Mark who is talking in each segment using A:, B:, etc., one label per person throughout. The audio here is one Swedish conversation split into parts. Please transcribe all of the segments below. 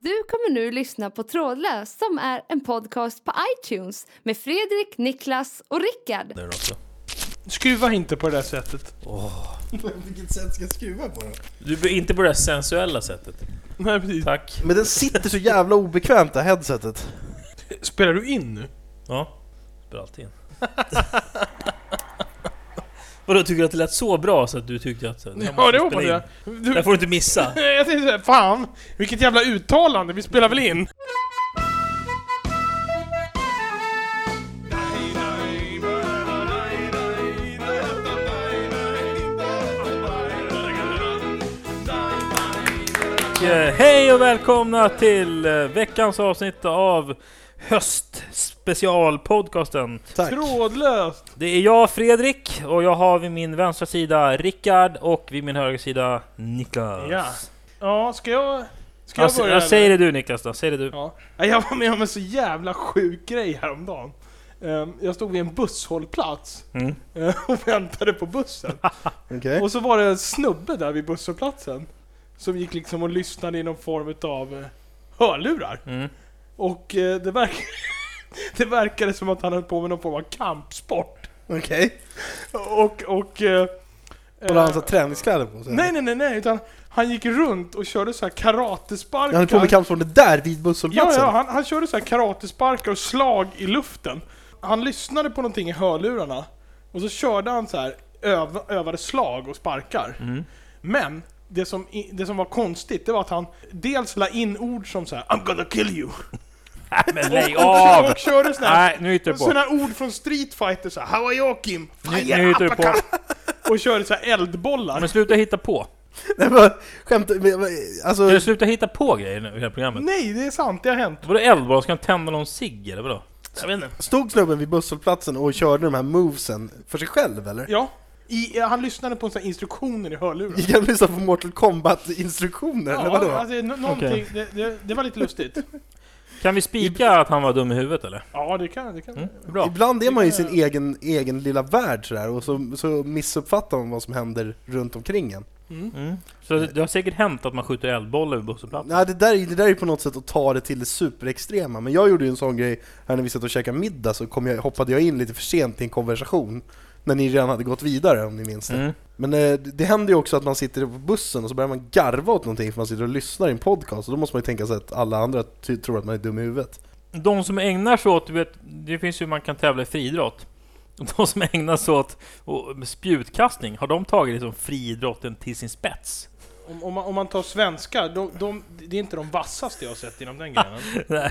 A: Du kommer nu lyssna på Trådlös som är en podcast på iTunes med Fredrik, Niklas och Rickard.
B: Där också.
C: Skruva inte på det där sättet.
D: På vilket sätt ska jag skruva på den?
B: Du blir inte på det här sensuella sättet.
C: Nej precis.
B: Tack.
D: Men den sitter så jävla obekvämt det här headsetet.
C: Spelar du in nu?
B: Ja. Spelar alltid in. Vadå, tycker du att det lät så bra så att du tyckte att... här måste
C: Ja, det
B: vi
C: hoppas
B: spela
C: jag.
B: in.
C: Du,
B: Det här får du inte missa.
C: jag tänkte såhär, fan! Vilket jävla uttalande, vi spelar väl in?
B: Eh, Hej och välkomna till eh, veckans avsnitt av höstspecialpodcasten.
D: Tack.
C: Trådlöst!
B: Det är jag, Fredrik, och jag har vid min vänstra sida Rickard och vid min högra sida Niklas.
C: Ja. Ja, ska jag... Ska jag
B: Alltså,
C: börja?
B: jag
C: eller?
B: säger det du Niklas då, säg det du.
C: Ja. Nej, Jag var med om en så jävla sjuk grej häromdagen. Ehm, Jag stod vid en busshållplats
B: Mm.
C: eh, och väntade på bussen.
D: Okej.
C: Och så var det en snubbe där vid busshållplatsen. Som gick liksom och lyssnade i någon form av hörlurar.
B: Mm.
C: Och eh, det, verk det verkade som att han höll på med någon form av kampsport.
D: Okej.
C: Och, och... eh,
D: Och då har han
C: eh,
D: satt träningskläder på sig?
C: nej, nej, nej, nej, utan han gick runt och körde så här karatesparkar.
D: Han höll på med kampsporten där vid
C: Ja,
D: busshållplatsen?
C: ja han, han körde så här karatesparkar och slag i luften. Han lyssnade på någonting i hörlurarna och så körde han så här öv, övade slag och sparkar. Men det som, i- det som var konstigt, det var att han dels la in ord som så här I'm gonna kill you.
B: Men lägg
C: Och,
B: av!
C: och körde såna här,
B: Nej, nu hittar du på.
C: såna här ord från Street Fighter så här How are you Kim?
B: Nu, nu hittar du på.
C: Och körde så här eldbollar.
B: Men sluta hitta på.
D: Nej, men, skämt, men, men, alltså...
B: Ska du sluta hitta på grejer nu i det här programmet?
C: Nej, det är sant, det har hänt.
B: Vadå eldboll? Ska han tända någon cigg eller vadå?
C: Jag vet inte.
D: Stod snubben vid busshållplatsen och körde de här movesen för sig själv eller?
C: Ja. I, eh, han lyssnade på så här instruktioner i hörlurarna.
D: Gick han och lyssnade på Mortal Kombat-instruktioner eller vadå?
C: alltså, nå- någonting, det, det, det var lite lustigt.
B: Kan vi spika att han var dum i huvudet eller?
C: Ja, det kan det. Kan.
B: Mm, bra.
D: Ibland är man ju i sin egen, egen lilla värld sådär och så, så missuppfattar man vad som händer runt omkring en.
B: Mm. Så det, det har säkert hänt att man skjuter eldbollar vid busshållplatsen?
D: Nej, det där, är- det där är ju på något sätt att ta det till det superextrema, men jag gjorde ju en sån grej här när vi satt och käkade middag så kom jag, hoppade jag in lite för sent i en konversation när ni redan hade gått vidare om ni minns det.
B: Mm.
D: Men eh, det- det händer ju också att man sitter på bussen och så börjar man garva åt någonting för man sitter och lyssnar i en podcast och då måste man ju tänka sig att alla andra ty- tror att man är dum i huvudet.
B: De som ägnar sig åt, du vet, det finns ju man kan tävla i friidrott. De som ägnar sig åt och, spjutkastning, har de tagit liksom friidrotten till sin spets?
C: Om, om, man, om man tar svenskar, de, de, det är inte de vassaste jag har sett inom den grenen.
B: Nej.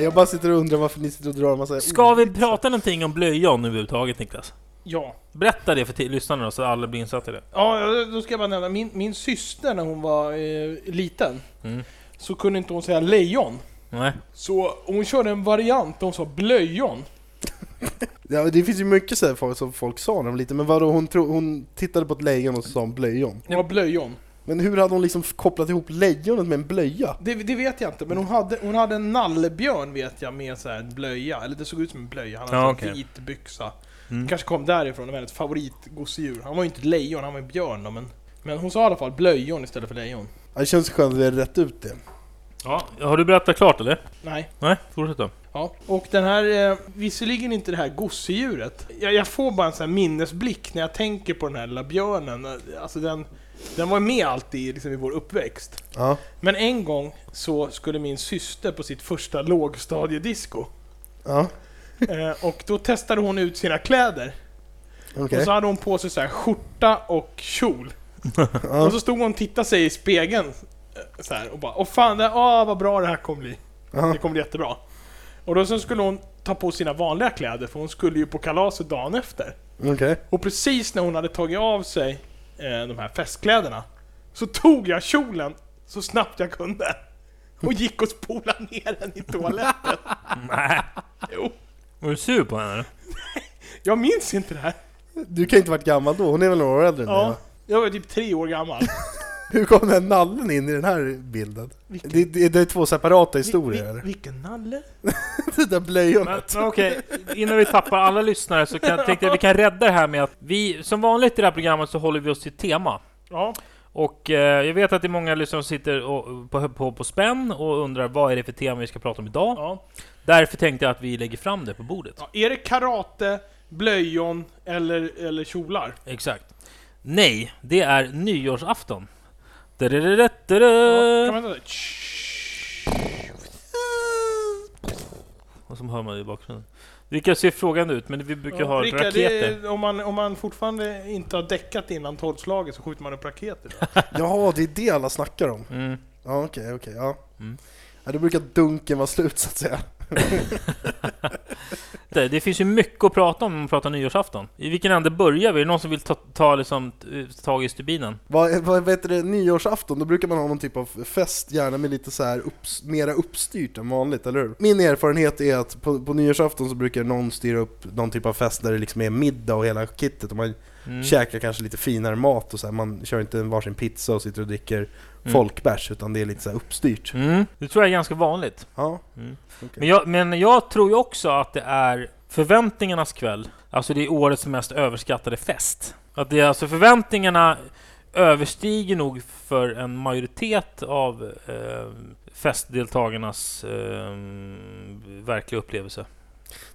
D: Jag bara sitter och undrar varför ni sitter och drar en massa...
B: Ska vi prata någonting om blöjan överhuvudtaget Niklas?
C: Ja.
B: Berätta det för till- lyssnarna då, så alla blir insatta i det.
C: ja, då ska jag bara nämna, min, min syster när hon var eh, liten,
B: Mm.
C: så kunde inte hon säga lejon.
B: Nej.
C: Så hon körde en variant, där hon sa blöjon.
D: Ja, det finns ju mycket så här folk, som folk sa när de var liten, men vadå, hon, tro, hon tittade på ett lejon och så sa hon blöjon.
C: Hon var blöjon.
D: Men hur hade hon liksom kopplat ihop lejonet med en blöja?
C: Det, det vet jag inte, men hon hade, hon hade en nallebjörn vet jag med så här en blöja, eller det såg ut som en blöja, han hade
B: Ja,
C: en
B: okej.
C: vit byxa.
B: Mm.
C: Kanske kom därifrån, det var hennes favoritgosedjur. Han var ju inte ett lejon, han var en björn då, men, men hon sa i alla fall blöjon istället för lejon.
D: Ja, det känns skönt att vi har rätt ut det.
B: Ja, har du berättat klart eller?
C: Nej.
B: Nej, fortsätt då.
C: Ja, och den här, eh, visserligen inte det här gosedjuret. Jag, jag får bara en sån här minnesblick när jag tänker på den här lilla björnen. Alltså den, den var med alltid liksom, i vår uppväxt.
D: Ja.
C: Men en gång så skulle min syster på sitt första lågstadiedisco.
D: Ja,
C: Eh, och då testade hon ut sina kläder.
D: okej.
C: Och så hade hon på sig så här skjorta och kjol.
D: Ja,
C: Och så stod hon och tittade sig i spegeln. eh, Så här, och bara åh fan, det, åh, vad bra det här kommer bli.
D: ja.
C: Det kommer bli jättebra. Och då sen skulle hon ta på sina vanliga kläder, för hon skulle ju på kalaset dagen efter.
D: Okej.
C: Och precis när hon hade tagit av sig eh, de här festkläderna, så tog jag kjolen så snabbt jag kunde. Och gick och spolade ner den i toaletten.
B: Nej.
C: Jo.
B: Var du sur på henne eller?
C: Jag minns inte det här.
D: Du kan ju inte varit gammal då, hon är väl några år äldre än dig,
C: Ja,
D: va?
C: jag var typ tre år gammal.
D: Hur kom den här nallen in i den här bilden?
C: Vilken,
D: Det, det, det är två separata historier.
C: vi, vi,
D: eller?
C: vilken nalle?
D: det där
B: Men,
D: blöjornet.
B: men okej, innan vi tappar alla lyssnare så kan, tänkte jag att vi kan rädda det här med att vi, som vanligt i det här programmet så håller vi oss till tema.
C: Ja.
B: Och eh, jag vet att det är många lyssnare som sitter och, på, på, på spänn och undrar vad är det för tema vi ska prata om idag?
C: ja.
B: Därför tänkte jag att vi lägger fram det på bordet.
C: ja. Är det karate, blöjon eller, eller kjolar?
B: Eh. Exakt. Nej, det är nyårsafton.
C: Ja, kan
B: Dadadadadada.
C: man inte...
B: Och så hör man det i bakgrunden. Vilka ser frågan ut, men vi brukar ha
C: Rickard, det
B: raketer.
C: är- om, man, om man fortfarande inte har däckat innan tolvslaget så skjuter man upp raketer.
D: Jaha, det är det alla snackar om.
B: Mm.
D: Ja, okej, okej. Ja.
B: Mm.
D: Ja, då brukar dunken vara slut så att säga.
B: Det, det finns ju mycket att prata om om man pratar nyårsafton. I vilken ände börjar vi? Är det någon som vill ta, ta liksom, t- tag i stubinen?
D: Vad, vad, vad heter det, nyårsafton, då brukar man ha någon typ av fest, gärna med lite så här upps, mera uppstyrt än vanligt, eller hur? Min erfarenhet är att på, på nyårsafton så brukar någon styra upp någon typ av fest där det liksom är middag och hela kittet och man
B: Mm.
D: käkar kanske lite finare mat och så här. man kör inte en varsin pizza och sitter och dricker
B: Mm.
D: folkbärs utan det är lite så här uppstyrt.
B: Mm. Det tror jag är ganska vanligt.
D: Ja,
B: Men jag, men jag tror ju också att det är förväntningarnas kväll. Alltså det är årets mest överskattade fest. Att det är alltså förväntningarna överstiger nog för en majoritet av eh, festdeltagarnas eh, verkliga upplevelse.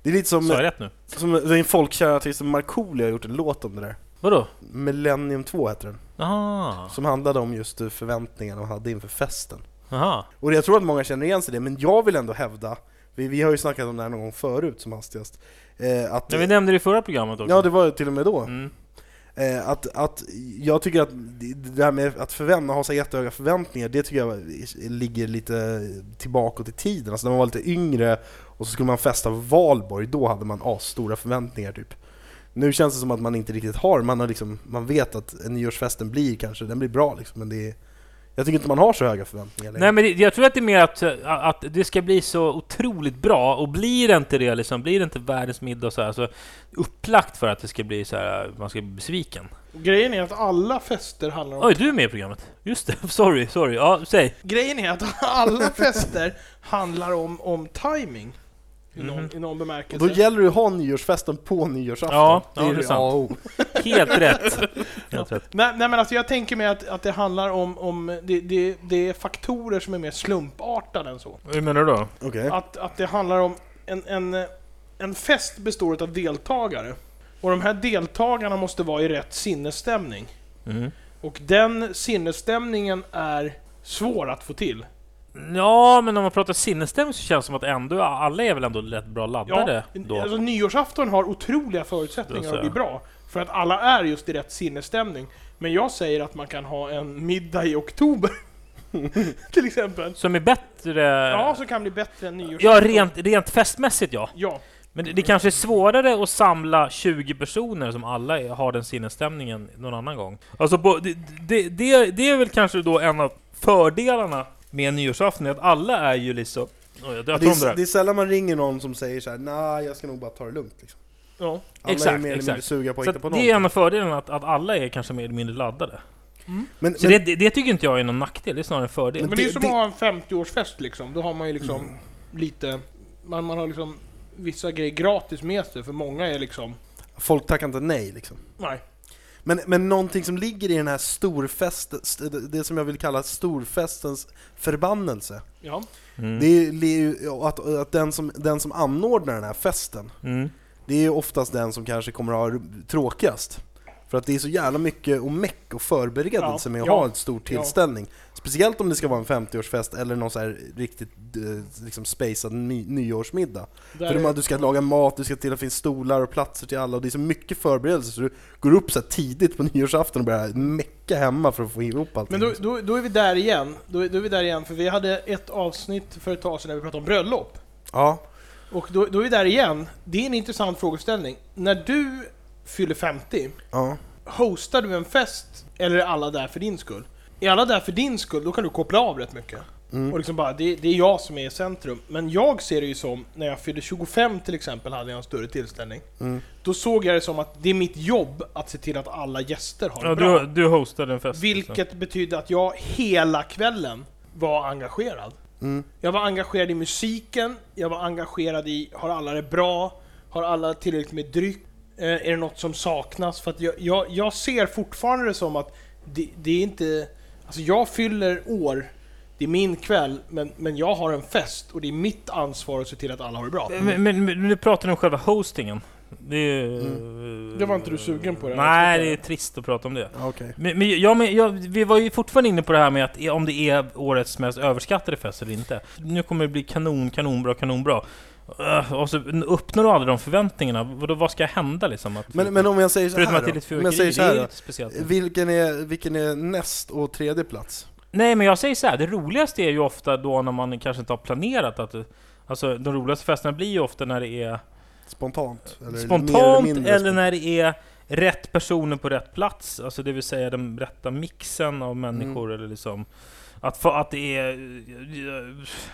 D: det är lite som,
B: Sa jag rätt nu?
D: som den folkkära artisten Markoolio har gjort en låt om det där.
B: Vadå?
D: Millennium 2 heter den.
B: Aha.
D: Som handlade om just eh, förväntningarna man hade inför festen.
B: Aha.
D: Och jag tror att många känner igen sig i det, men jag vill ändå hävda, vi, vi har ju snackat om det här någon gång förut som hastigast, eh, att...
B: Men vi nämnde det i förra programmet också.
D: ja, det var ju till och med då.
B: Mm.
D: Eh, att, att jag tycker att det det här med att förvänta, ha så jättehöga förväntningar, det tycker jag ligger lite tillbaka till tiden. Alltså när man var lite yngre och så skulle man festa på valborg, då hade man asstora förväntningar typ. Nu känns det som att man inte riktigt har, man, har liksom, man vet att nyårsfesten blir kanske, den blir bra liksom, men det är, jag tycker inte man har så höga förväntningar längre.
B: Nej men det, jag tror att det är mer att, att det ska bli så otroligt bra och blir det inte det liksom, blir det inte världens middag och så här, så upplagt för att det ska bli så här, man ska bli besviken.
C: Grejen är att alla fester handlar om...
B: Oj, du är med i programmet? Just det, sorry, sorry. Ja, säg.
C: Grejen är att alla fester handlar om, om timing. I någon,
B: Mhm.
C: i någon
D: Och
C: bemärkelse.
D: då gäller det att ha nyårsfesten på nyårsafton.
B: Ja, ja, det är sant.
D: A och O.
B: Helt rätt. Helt rätt.
C: Nej, nej men alltså jag tänker mig att, att det handlar om, om det, det, det är faktorer som är mer slumpartade än så.
B: Hur menar du då?
D: Okej.
C: Att, att det handlar om en, en, en fest består av deltagare. Och de här deltagarna måste vara i rätt sinnesstämning.
B: Mm.
C: Och den sinnesstämningen är svår att få till.
B: Ja, men om man pratar sinnesstämning så känns det som att ändå, alla är väl ändå rätt bra laddade då?
C: alltså, nyårsafton har otroliga
B: Då
C: förutsättningar
B: så.
C: att bli bra. För att alla är just i rätt sinnesstämning. Men jag säger att man kan ha en middag i oktober. till exempel.
B: Som är bättre...
C: Ja, så kan bli bättre än nyårsafton.
B: Eh. ja rent, rent festmässigt ja.
C: Ja,
B: Men det, det kanske är svårare att samla 20 personer som alla är- har den sinnesstämningen någon annan gång. Alltså, på, det, det, det, det är väl kanske då en av fördelarna med nyårsafton, är att alla är ju liksom... Oj, jag
D: Det,
B: döpte om det
D: är,
B: här.
D: det är sällan man ringer någon som säger så här: nej jag ska nog bara ta det lugnt. Liksom.
C: ja.
D: Alla är
B: Exakt,
D: mer eller mindre
B: exakt.
D: suga på att
B: Så
D: hitta
B: att
D: på
B: det är
D: någonting.
B: en av fördelarna, att, att alla är kanske mer eller mindre laddade.
D: Men,
B: Så
D: men,
B: det, det, det tycker inte jag är någon nackdel, det är snarare en fördel.
C: Men
D: Men
C: det, är ju
D: det-
C: som
D: det- Mm.
C: att ha en 50-årsfest liksom. Då har man ju liksom lite... Man, man har liksom vissa grejer gratis med sig, för många är liksom...
D: folk tackar inte nej liksom.
C: Nej.
D: Men, men någonting som ligger i den här storfesten, st- det som jag vill kalla storfestens förbannelse.
C: Ja.
B: Mm.
D: Det är det är ju att, att den, som, den som anordnar den här festen,
B: Mm.
D: det är ju oftast den som kanske kommer att ha det tråkigast. För att det är så jävla mycket och meck och förberedelse
C: Ja,
D: med att
C: ja,
D: ha en stor tillställning. Speciellt om det ska vara en 50-årsfest eller någon så här riktigt eh, liksom spacad ny, nyårsmiddag.
C: Där
D: För
C: är-
D: de här, du ska laga mat, du ska till att det finns stolar och platser till alla och det är så mycket förberedelse så du går upp så här tidigt på nyårsafton och börjar mecka hemma för att få ihop allting.
C: Men då, då, då är vi där igen. Då, är- då är vi där igen, för vi hade ett avsnitt för ett tag sedan där vi pratade om bröllop.
D: Ja,
C: Och då, då är vi där igen. Det är en intressant frågeställning. När du fyller 50,
D: ja.
C: hostar du en fest eller är alla där för din skull? Är alla där för din skull, då kan du koppla av rätt mycket.
D: Mm.
C: Och liksom bara, det, det är jag som är i centrum. Men jag ser det ju som, när jag fyllde 25 till exempel, hade jag en större tillställning.
D: Mm.
C: Då såg jag det som att det är mitt jobb att se till att alla gäster har det
B: Ja,
C: bra.
B: du, du hostade en fest. liksom.
C: Vilket betydde att jag hela kvällen var engagerad.
D: Mm.
C: Jag var engagerad i musiken, jag var engagerad i, har alla det bra? Har alla tillräckligt med dryck? Eh, är det något som saknas? För att jag, jag, jag ser fortfarande det som att det, det är inte... Alltså jag fyller år, det är min kväll, men, men jag har en fest och det är mitt ansvar att se till att alla har det bra.
B: Men, men, men nu pratar du om själva hostingen. Det, är, ju-
C: Mm. Det var inte du sugen på det?
B: Nej, det är trist att prata om det.
D: Ja, Okej.
B: Men, men, ja, men ja, vi var ju fortfarande inne på det här med att om det är årets mest överskattade fest eller inte. Nu kommer det bli kanon, kanonbra, kanonbra. Öh, Och så uppnår du aldrig de förväntningarna. Vadå, vad ska hända liksom? Att,
D: Men, men om jag säger så
B: förutom att det är
D: här
B: lite
D: då, Om jag säger
B: fyrverkeri, det är
D: så här
B: ju
D: då.
B: lite speciellt.
D: Vilken är, vilken är näst och tredje plats?
B: Nej, men jag säger så här. Det roligaste är ju ofta då när man kanske inte har planerat att... Alltså, de roligaste festerna blir ju ofta när det är
D: Spontant? Eller mer
B: spontant
D: mindre
B: eller
D: spontant?
B: när det är rätt personer på rätt plats. Alltså det vill säga den rätta mixen av människor
D: Mm.
B: eller liksom... Att, få, att det är...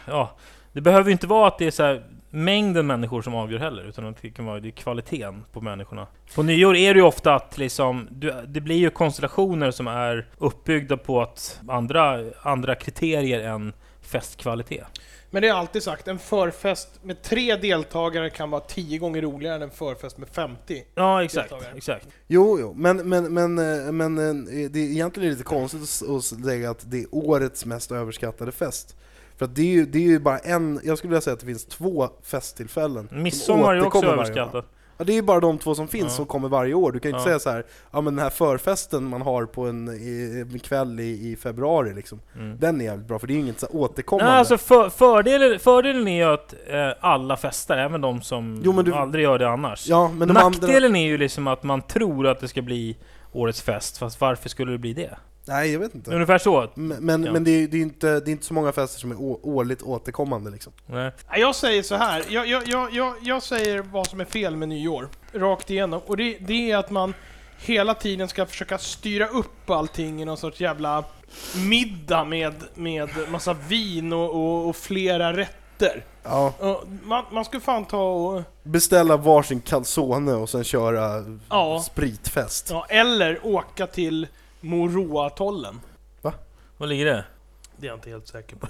B: Ja, det behöver ju inte vara att det är så här mängden människor som avgör heller, utan att det kan vara det är kvaliteten på människorna. På nyår är det ju ofta att liksom, du, det blir ju konstellationer som är uppbyggda på att andra, andra kriterier än festkvalitet.
C: Men det är alltid sagt, en förfest med tre deltagare kan vara tio gånger roligare än en förfest med 50.
B: Ja, exakt.
C: Deltagare.
B: exakt.
D: Jo, jo, men, men, men, eh, men eh, det är egentligen lite konstigt att s- att säga att det är årets mest överskattade fest. För att det är ju, det är ju bara en, jag skulle vilja säga att det finns två festtillfällen. som
B: Midsommar är ju också
D: återkommer varje år.
B: överskattat.
D: Ja, det är ju bara de två som finns
B: Ja.
D: som kommer varje år. Du kan ju inte
B: Ja.
D: säga så här, ja men den här förfesten man har på en, i, en kväll i, i februari liksom.
B: Mm.
D: Den är jävligt bra, för det är ju inget så här återkommande.
B: Nej, alltså för, fördelen, fördelen är ju att eh, alla festar, även de som
D: Jo, men du-
B: aldrig gör det annars.
D: ja, men de andra...
B: Nackdelen är ju liksom att man tror att det ska bli årets fest, fast varför skulle det bli det?
D: Nej, jag vet inte.
B: Ungefär så.
D: Men, men,
B: Ja.
D: men det, är, det, är inte, det är inte så många fester som är å, årligt återkommande liksom.
B: Nej.
C: Nej, Jag säger så här. Jag, jag, jag, jag, jag säger vad som är fel med nyår. Rakt igenom. Och det, det är att man hela tiden ska försöka styra upp allting i någon sorts jävla middag med, med massa vin och, och, och flera rätter.
D: Ja.
C: Och Man, man skulle fan ta och...
D: Beställa varsin calzone och sen köra
C: Ja.
D: spritfest.
C: Ja, eller åka till Moroatollen.
B: Vad ligger det?
C: Det är jag inte helt säker på.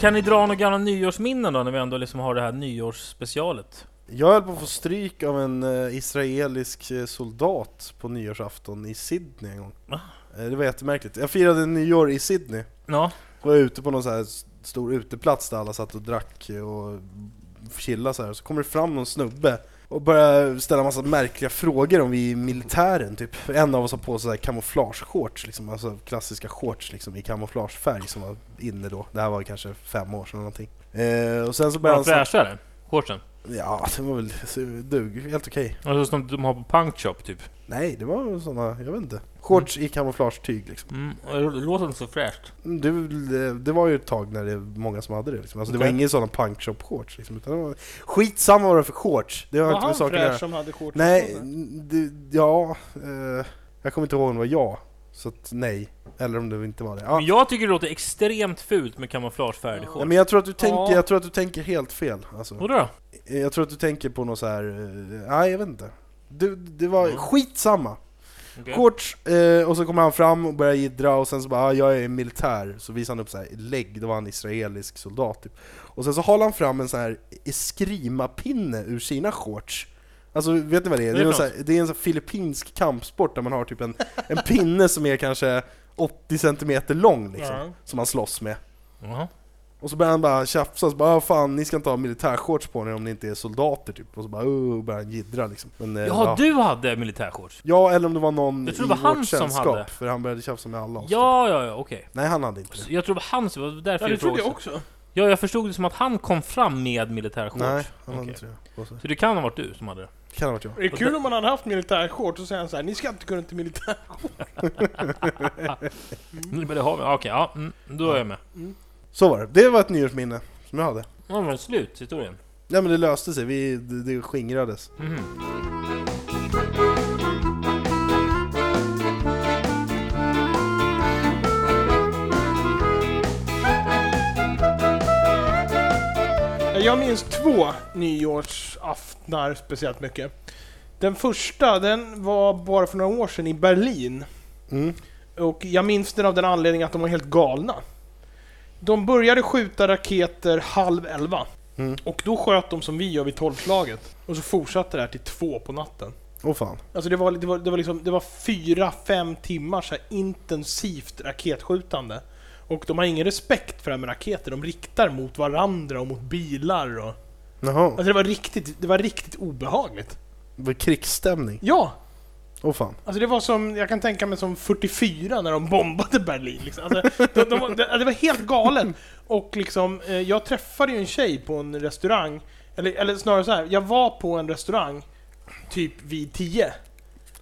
B: Kan ni dra några gamla nyårsminnen då, när vi ändå liksom har det här nyårsspecialet?
D: Jag höll på att få stryk av en eh, israelisk eh, soldat på nyårsafton i Sydney en gång.
B: Va?
D: Eh, det var jättemärkligt. Jag firade nyår i Sydney.
B: Ja.
D: Var ute på någon så här s- stor uteplats där alla satt och drack och chillade så här. Så kommer det fram någon snubbe och börjar ställa massa märkliga frågor om vi i militären typ. En av oss har på sig så här kamouflageshorts, liksom, alltså klassiska shorts liksom, i kamouflagefärg som var inne då. Det här var kanske fem år sedan eller någonting. Eh, och sen så började
B: Var
D: han snacka-
B: fräschare? Shortsen?
D: Ja, det var väl så- dug, helt okej.
B: Alltså som de har på punk shop typ?
D: Nej, det var väl såna, jag vet inte. Shorts i kamouflagetyg liksom.
B: Mm. och Det låter inte så fräscht.
D: Det, det var ju ett tag när det var många som hade det liksom. Alltså det
B: Okej.
D: var ingen sådana punkshop-shorts liksom, utan det var... Skitsamma vad det var för shorts! Det har
C: Var
D: inte med
C: han
D: saken att
C: fräsch
D: göra.
C: som hade shorts
D: Nej,
C: på sig?
D: det, ja... Eh, jag kommer inte ihåg om det var jag. Så att nej. Eller om det inte var det. Ja.
B: Men jag tycker det låter extremt fult med kamouflagefärgade
C: Ja,
B: shorts.
D: Ja, men jag tror, att du tänker,
C: Ja.
D: jag tror att du tänker helt fel alltså.
B: Vadå då?
D: Jag tror att du tänker på något så här. eh, Nej, jag vet inte. Du, det var...
B: Mm.
D: Skitsamma!
B: Okej.
D: Shorts, eh, och så kommer han fram och börjar jiddra och sen så bara ah, jag är militär, så visar han upp så här lägg, då var han israelisk soldat typ. Och sen så håller han fram en sån här eskrimapinne ur sina shorts. Alltså vet ni vad det är?
B: är
D: Det är, någon
B: klart.
D: så här, det är en sån här filippinsk kampsport där man har typ en, en pinne som är kanske 80 cm lång liksom,
C: Ja.
D: som man slåss med.
B: Jaha.
D: Och så börjar han bara tjafsa, så bara ah, fan ni ska inte ha militärshorts på er om ni inte är soldater typ. Och så bara oh, börjar han jiddra liksom. Men, eh,
B: Jaha, du hade militärshorts?
D: Ja, eller om det var någon
B: Jag tror
D: i
B: det var han
D: vårt
B: som
D: sällskap,
B: hade.
D: för han började tjafsa med alla oss.
B: Ja, Alltså, ja, ja, okej.
D: Nej, han hade inte det.
B: Så Jag tror det var han som... det var Därför
C: Ja, det
B: jag
C: trodde
B: frågade.
C: jag också.
B: Ja, jag förstod det som att han kom fram med militärshorts.
D: Nej, han hade
B: Okej.
D: inte det. på sig.
B: Så det kan ha varit du som hade det.
D: Det kan ha varit jag.
C: Det är kul om man hade haft militärshorts och säger han så här, ni ska inte gå runt i militär...
B: Mm. Men det har vi. Okej, ja. Mm, då är jag med.
D: Så var det. Det var ett nyårsminne som jag hade.
B: Ja, var det slut, historien?
D: Nej men det löste sig, vi, det, det skingrades.
B: Mhm.
C: Jag minns två nyårsaftnar speciellt mycket. Den första, den var bara för några år sedan i Berlin.
D: Mm.
C: Och jag minns den av den anledningen att de var helt galna. De började skjuta raketer halv elva.
D: Mm.
C: Och då sköt de som vi gör vid tolvslaget. Och så fortsatte det här till två på natten.
D: Åh fan.
C: Alltså det var, det var, det var, liksom, det var fyra, fem timmar så här intensivt raketskjutande. Och de har ingen respekt för det här med raketer. De riktar mot varandra och mot bilar och...
D: Jaha,
C: Alltså det var riktigt, det var riktigt obehagligt.
D: det var krigsstämning.
C: Ja!
D: Åh fan.
C: Alltså det var som, jag kan tänka mig som 44 när de bombade Berlin liksom. alltså, de, de, var- det, det var helt galen. Och liksom, eh, jag träffade ju en tjej på en restaurang, eller, eller snarare så här, jag var på en restaurang typ vid 10.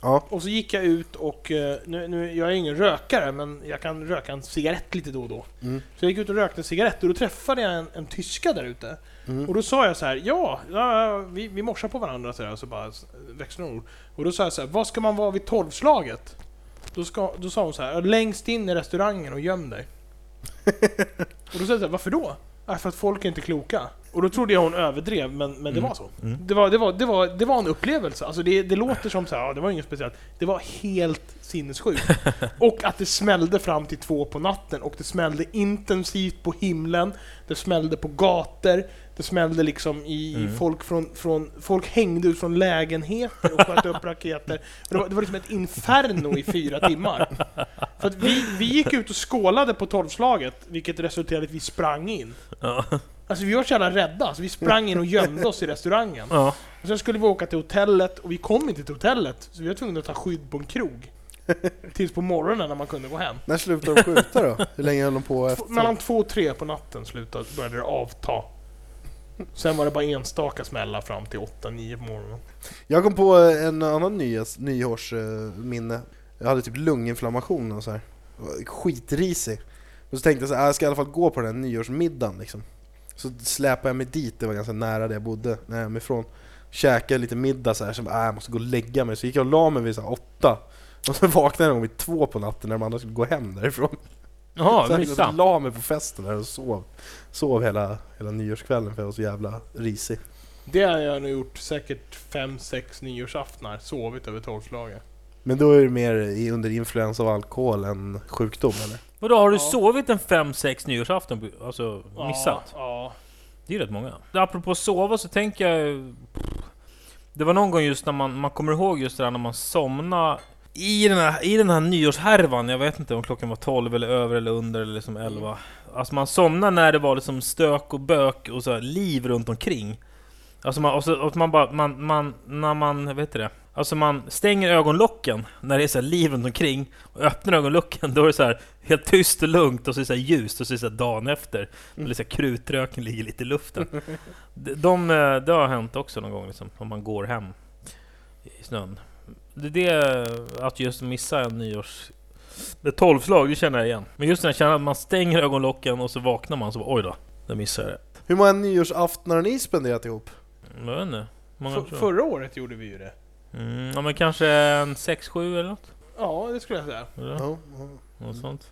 D: Ja.
C: Och så gick jag ut och, eh, nu, nu, jag är ingen rökare men jag kan röka en cigarett lite då och då.
D: Mm.
C: Så jag gick ut och rökte en cigarett och då träffade jag en, en tyska där ute.
D: Mm.
C: Och då sa jag så här, ja, ja vi, vi morsar på varandra så, här, och så bara s- växlade hon ord. Och då sa jag så här, vad ska man vara vid tolvslaget? Då, ska, då sa hon så här, längst in i restaurangen och göm dig. och då sa jag så här, varför då? "Ah, för att folk är inte kloka. Och då trodde jag hon överdrev, men, men det
B: Mm.
C: var så.
B: Mm.
C: Det, var, det, var, det, var, det var en upplevelse. Alltså det, det låter som så här, ja, det var inget speciellt. Det var helt sinnessjukt. och att det smällde fram till två på natten och det smällde intensivt på himlen. Det smällde på gator, det smällde liksom i i
B: Mm.
C: folk från, från... Folk hängde ut från lägenheter och sköt upp raketer. Det var, det var liksom ett inferno i fyra timmar. För att vi, vi gick ut och skålade på tolvslaget, vilket resulterade i att vi sprang in.
B: Ja.
C: Alltså vi var så jävla rädda, så vi sprang in och gömde oss i restaurangen.
B: ja.
C: Och sen skulle vi åka till hotellet, och vi kom inte till hotellet, så vi var tvungna att ta skydd på en krog. Tills på morgonen när man kunde gå hem.
D: När slutade de skjuta då? Hur länge höll de på
C: Två-
D: efter?
C: Mellan två och tre på natten slutade, började det avta. Sen var det bara enstaka smällar fram till åtta, nio på morgonen.
D: Jag kom på eh, en annan nyhets, nyårsminne. Jag hade typ lunginflammation och så här. Jag var Skitrisig. Och så tänkte jag så här, "Ah, jag ska i alla fall gå på den här nyårsmiddagen liksom. Så släpade jag mig dit, det var ganska nära där jag bodde, när jag ifrån. Käkade lite middag så här, så bara, "Ah, jag måste gå och lägga mig. Så gick jag och la mig vid så här, åtta. Och så vaknade jag någon gång vid två på natten när de andra skulle gå hem därifrån.
B: Jaha,
D: så jag gick och
B: missa.
D: la mig på festen där och sov. Sov hela, hela nyårskvällen för jag var så jävla risig.
C: Det har jag nog gjort säkert fem, sex nyårsaftnar, sovit över tolvslaget.
D: Men då är det mer i- under influens av alkohol än sjukdom eller?
B: Vadå, har du
C: Ja.
B: sovit en 5-6 nyårsafton? på- Alltså, missat?
C: Ja,
B: Det är rätt många. Apropå sova så tänker jag... Det var någon gång just när man, man kommer ihåg just det där när man somnade i den, här, I den här nyårshärvan, jag vet inte om klockan var 12 eller över eller under eller liksom 11. Alltså man somnade när det var liksom stök och bök och så här liv runt omkring. Alltså man, och så, och man bara, man, man, när man, vet det? Alltså man stänger ögonlocken när det är så här liv runt omkring och öppnar ögonlocken då är det så här helt tyst och lugnt och så är det så här ljust och så är det så här dagen efter. Mm. Eller så här krutröken ligger lite i luften. De, de, eh, det har hänt också någon gång liksom, om man går hem i snön. Det, det att just missa en nyårs... Det tolvslag, det känner jag igen. Men just när jag känner att man stänger ögonlocken och så vaknar man så bara, oj då, där missade jag det.
D: Hur många nyårsaftnar har ni spenderat ihop?
B: Jag vet inte. Många
C: F-
B: tror jag.
C: förra året gjorde vi ju det.
B: Mm, ja men kanske en 6-7 eller något?
C: Ja, det skulle jag säga.
B: Eller?
D: Ja. ja.
B: Något sånt.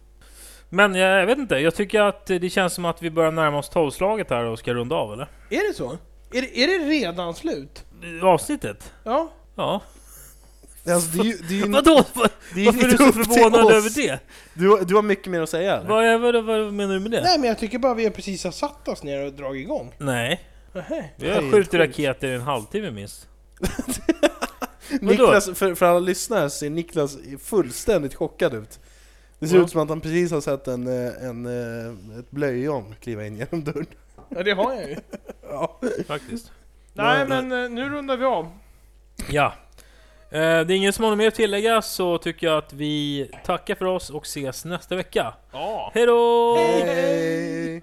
B: Men jag, jag vet inte, jag tycker att det känns som att vi börjar närma oss tolvslaget här och ska runda av eller?
C: Är det så? Är det, är det redan slut?
B: Avsnittet?
C: Ja.
B: Ja.
D: Alltså, det är ju, det är ju,
B: Vadå?
D: det
B: Varför är du
D: inte
B: så
D: upp till
B: förvånad
D: oss.
B: över det?
D: Du, har- du har mycket mer att säga eller?
B: Vad, är, vad, vad menar du med det?
C: Nej, men jag tycker bara vi precis har satt oss ner och dragit igång.
B: Nej,
C: Nähä.
B: vi
D: Det är
B: har
D: helt
B: skjutit
D: sjukt.
B: raketer i en halvtimme minst.
D: Niklas, för, för alla lyssnare ser Niklas fullständigt chockad ut. Det ser
B: Ja.
D: ut som att han precis har sett en, eh, en, eh, ett blöjon kliva in genom dörren.
C: Ja, det har jag ju.
D: Ja.
B: Faktiskt.
C: Nej,
D: Nej,
C: men eh, nu rundar vi av.
B: Ja. Eh, Det är ingen som har något mer att tillägga så tycker jag att vi tackar för oss och ses nästa vecka.
C: Ja.
B: Hej då!
D: Hej.